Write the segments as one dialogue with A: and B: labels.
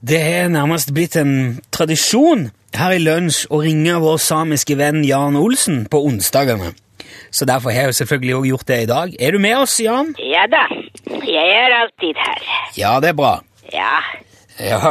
A: Det er nærmest blitt en tradisjon her i lunsj å ringe vår samiske venn Jan Olsen på onsdagene. Så derfor har jeg jo selvfølgelig også gjort det i dag. Er du med oss, Jan?
B: Ja da, jeg er alltid her.
A: Ja, det er bra.
B: Ja,
A: Ja.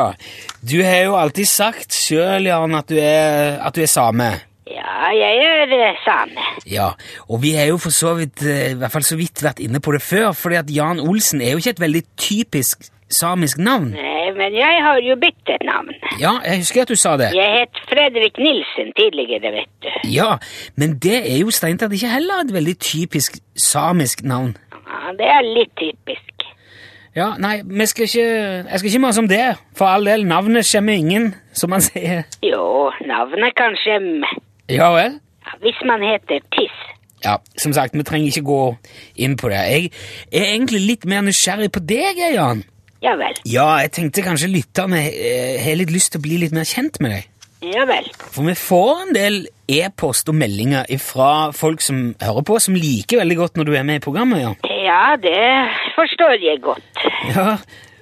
A: Du har jo alltid sagt sjøl, Jan, at du, er, at du er same.
B: ja jeg er eh, same.
A: Ja, og vi har jo for så vidt, eh, i hvert fall så vidt vært inne på det før, fordi at Jan Olsen er jo ikke et veldig typisk samisk navn.
B: Nei, Eh, men jeg har jo byttet navn.
A: Ja, jeg husker at du sa det.
B: Jeg het Fredrik Nilsen tidligere, vet du.
A: Ja, men det er jo strengt tatt ikke heller et veldig typisk samisk navn.
B: Ja, det er litt typisk.
A: Ja, nei, vi skal ikke, jeg skal ikke mase om det. For all del, navnet skjemmer ingen, som man sier.
B: Jo, navnet kanskje mm,
A: Ja vel?
B: ja, Hvis man heter Tiss.
A: Ja, som sagt, vi trenger ikke gå inn på det. Jeg er egentlig litt mer nysgjerrig på deg, jeg, Jan.
B: Ja vel,
A: Ja, jeg tenkte kanskje lytterne eh, har litt lyst til å bli litt mer kjent med deg.
B: ja vel.
A: For vi får en del e-post og meldinger fra folk som hører på, som liker veldig godt når du er med i programmet, Jan.
B: Ja, det forstår jeg godt.
A: Ja,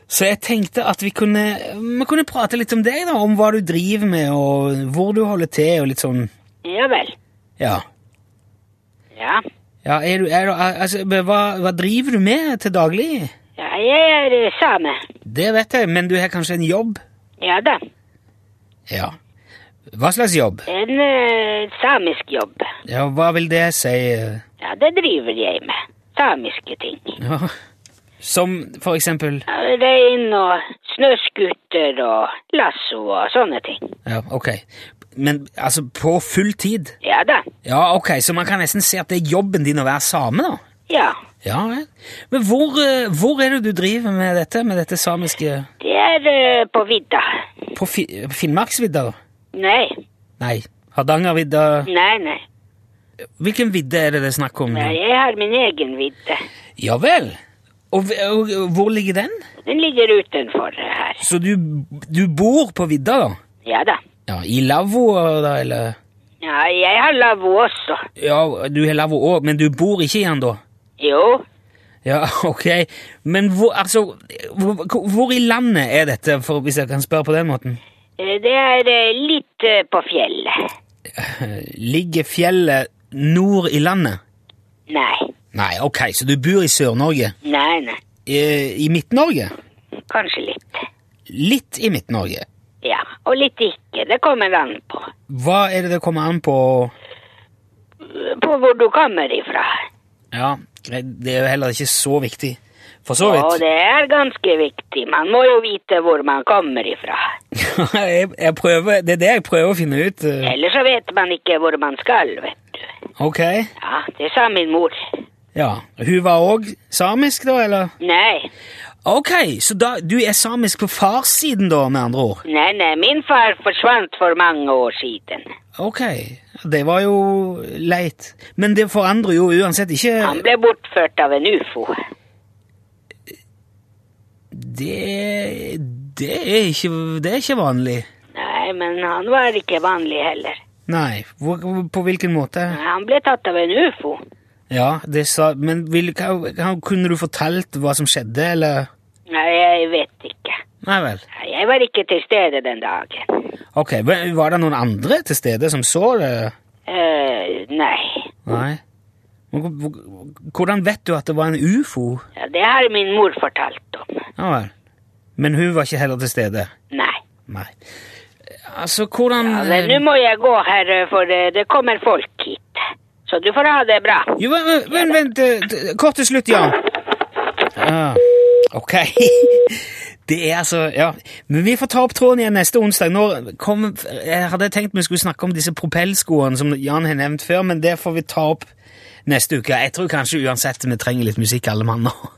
A: så jeg tenkte at vi kunne, vi kunne prate litt om deg, da. Om hva du driver med, og hvor du holder til, og litt sånn
B: Ja vel.
A: Ja.
B: Ja,
A: ja er du, er du, altså, hva, hva driver du med til daglig?
B: ja jeg er eh, same.
A: Det vet jeg, men du har kanskje en jobb?
B: Ja da,
A: Ja. Hva slags jobb?
B: en eh, samisk jobb.
A: Ja, hva vil det si?
B: Ja, det driver jeg med. Samiske ting.
A: Ja. Som for eksempel
B: Ja, Rein og snøskuter og lasso og sånne ting.
A: Ja, ok. Men altså, på full tid?
B: Ja da.
A: Ja, ok, så man kan nesten si at det er jobben din å være same, da?
B: Ja.
A: Ja vel. Men hvor, eh, hvor er det du driver med dette, med dette samiske
B: Det er eh, på vidda.
A: På fi Finnmarksvidda? da?
B: Nei,
A: Nei, Hardangervidda
B: nei, nei.
A: Hvilken vidde er det det er snakk om?
B: nei jeg har min egen vidde.
A: Ja vel. Og, v- og, og hvor ligger den?
B: Den ligger utenfor her.
A: Så du, du bor på vidda, da?
B: Ja da.
A: Ja, I lavvoer, da, eller
B: Ja, jeg har lavvo også.
A: Ja, du har lavvo òg, men du bor ikke i den, da?
B: Jo.
A: Ja, ok. Men hvor, altså, hvor, hvor i landet er dette, for, hvis jeg kan spørre på den måten?
B: eh, Det er eh, litt eh, på fjellet.
A: Ligger fjellet nord i landet?
B: Nei.
A: Nei, ok, så du bor i Sør-Norge?
B: Nei, nei.
A: I, i Midt-Norge?
B: Kanskje litt.
A: Litt i Midt-Norge.
B: Ja, og litt ikke. Det kommer an på.
A: Hva er det det kommer an på
B: På hvor du kommer ifra.
A: Ja, det er jo heller ikke så viktig. For så
B: Og
A: vidt.
B: det er ganske viktig. Man må jo vite hvor man kommer ifra.
A: jeg, jeg prøver, det er det jeg prøver å finne ut. eh.
B: Ellers så vet man ikke hvor man skal, vet du.
A: Ok.
B: Ja, det sa min mor.
A: Ja. Hun var òg samisk, da, eller?
B: Nei,
A: Ok, så da, du er samisk på farssiden, da, med andre ord?
B: nei, nei, min far forsvant for mange år siden.
A: Ok, det var jo leit. Men det forandrer jo uansett
B: Han
A: ikke
B: ble bortført av en ufo.
A: Det, det, er, ikke, det er ikke vanlig.
B: Nei, men han var ikke vanlig heller.
A: Nei, hvor, på hvilken måte?
B: Han ble tatt av en ufo.
A: Ja, det sa, men vil, hva, hva- kunne du fortalt hva som skjedde, eller?
B: Nei, jeg vet ikke.
A: Nei vel.
B: Nei, Jeg var ikke til stede den dagen.
A: Ok, hva- var det noen andre til stede som så det?
B: Eh, nei,
A: Nei. Men hvor- hvor- Hvordan vet du at det var en ufo?
B: ja, det har min mor fortalt om.
A: Ja vel. Men hun var ikke heller til stede?
B: Nei.
A: Nei. Altså, hvordan
B: Ja, men nå må jeg gå her, eh, for eh, det kommer folk hit. Så du får ha det bra.
A: Jo, men, men- men vent, eh, t- kort til slutt, Jan. Ja, ok. Det er altså, ja. Men vi får ta opp tråden igjen neste onsdag. Nå kom, jeg hadde tenkt vi skulle snakke om disse propellskoene som Jan har nevnt før, men det får vi ta opp neste uke. Jeg tror kanskje uansett vi trenger litt musikk alle mann nå.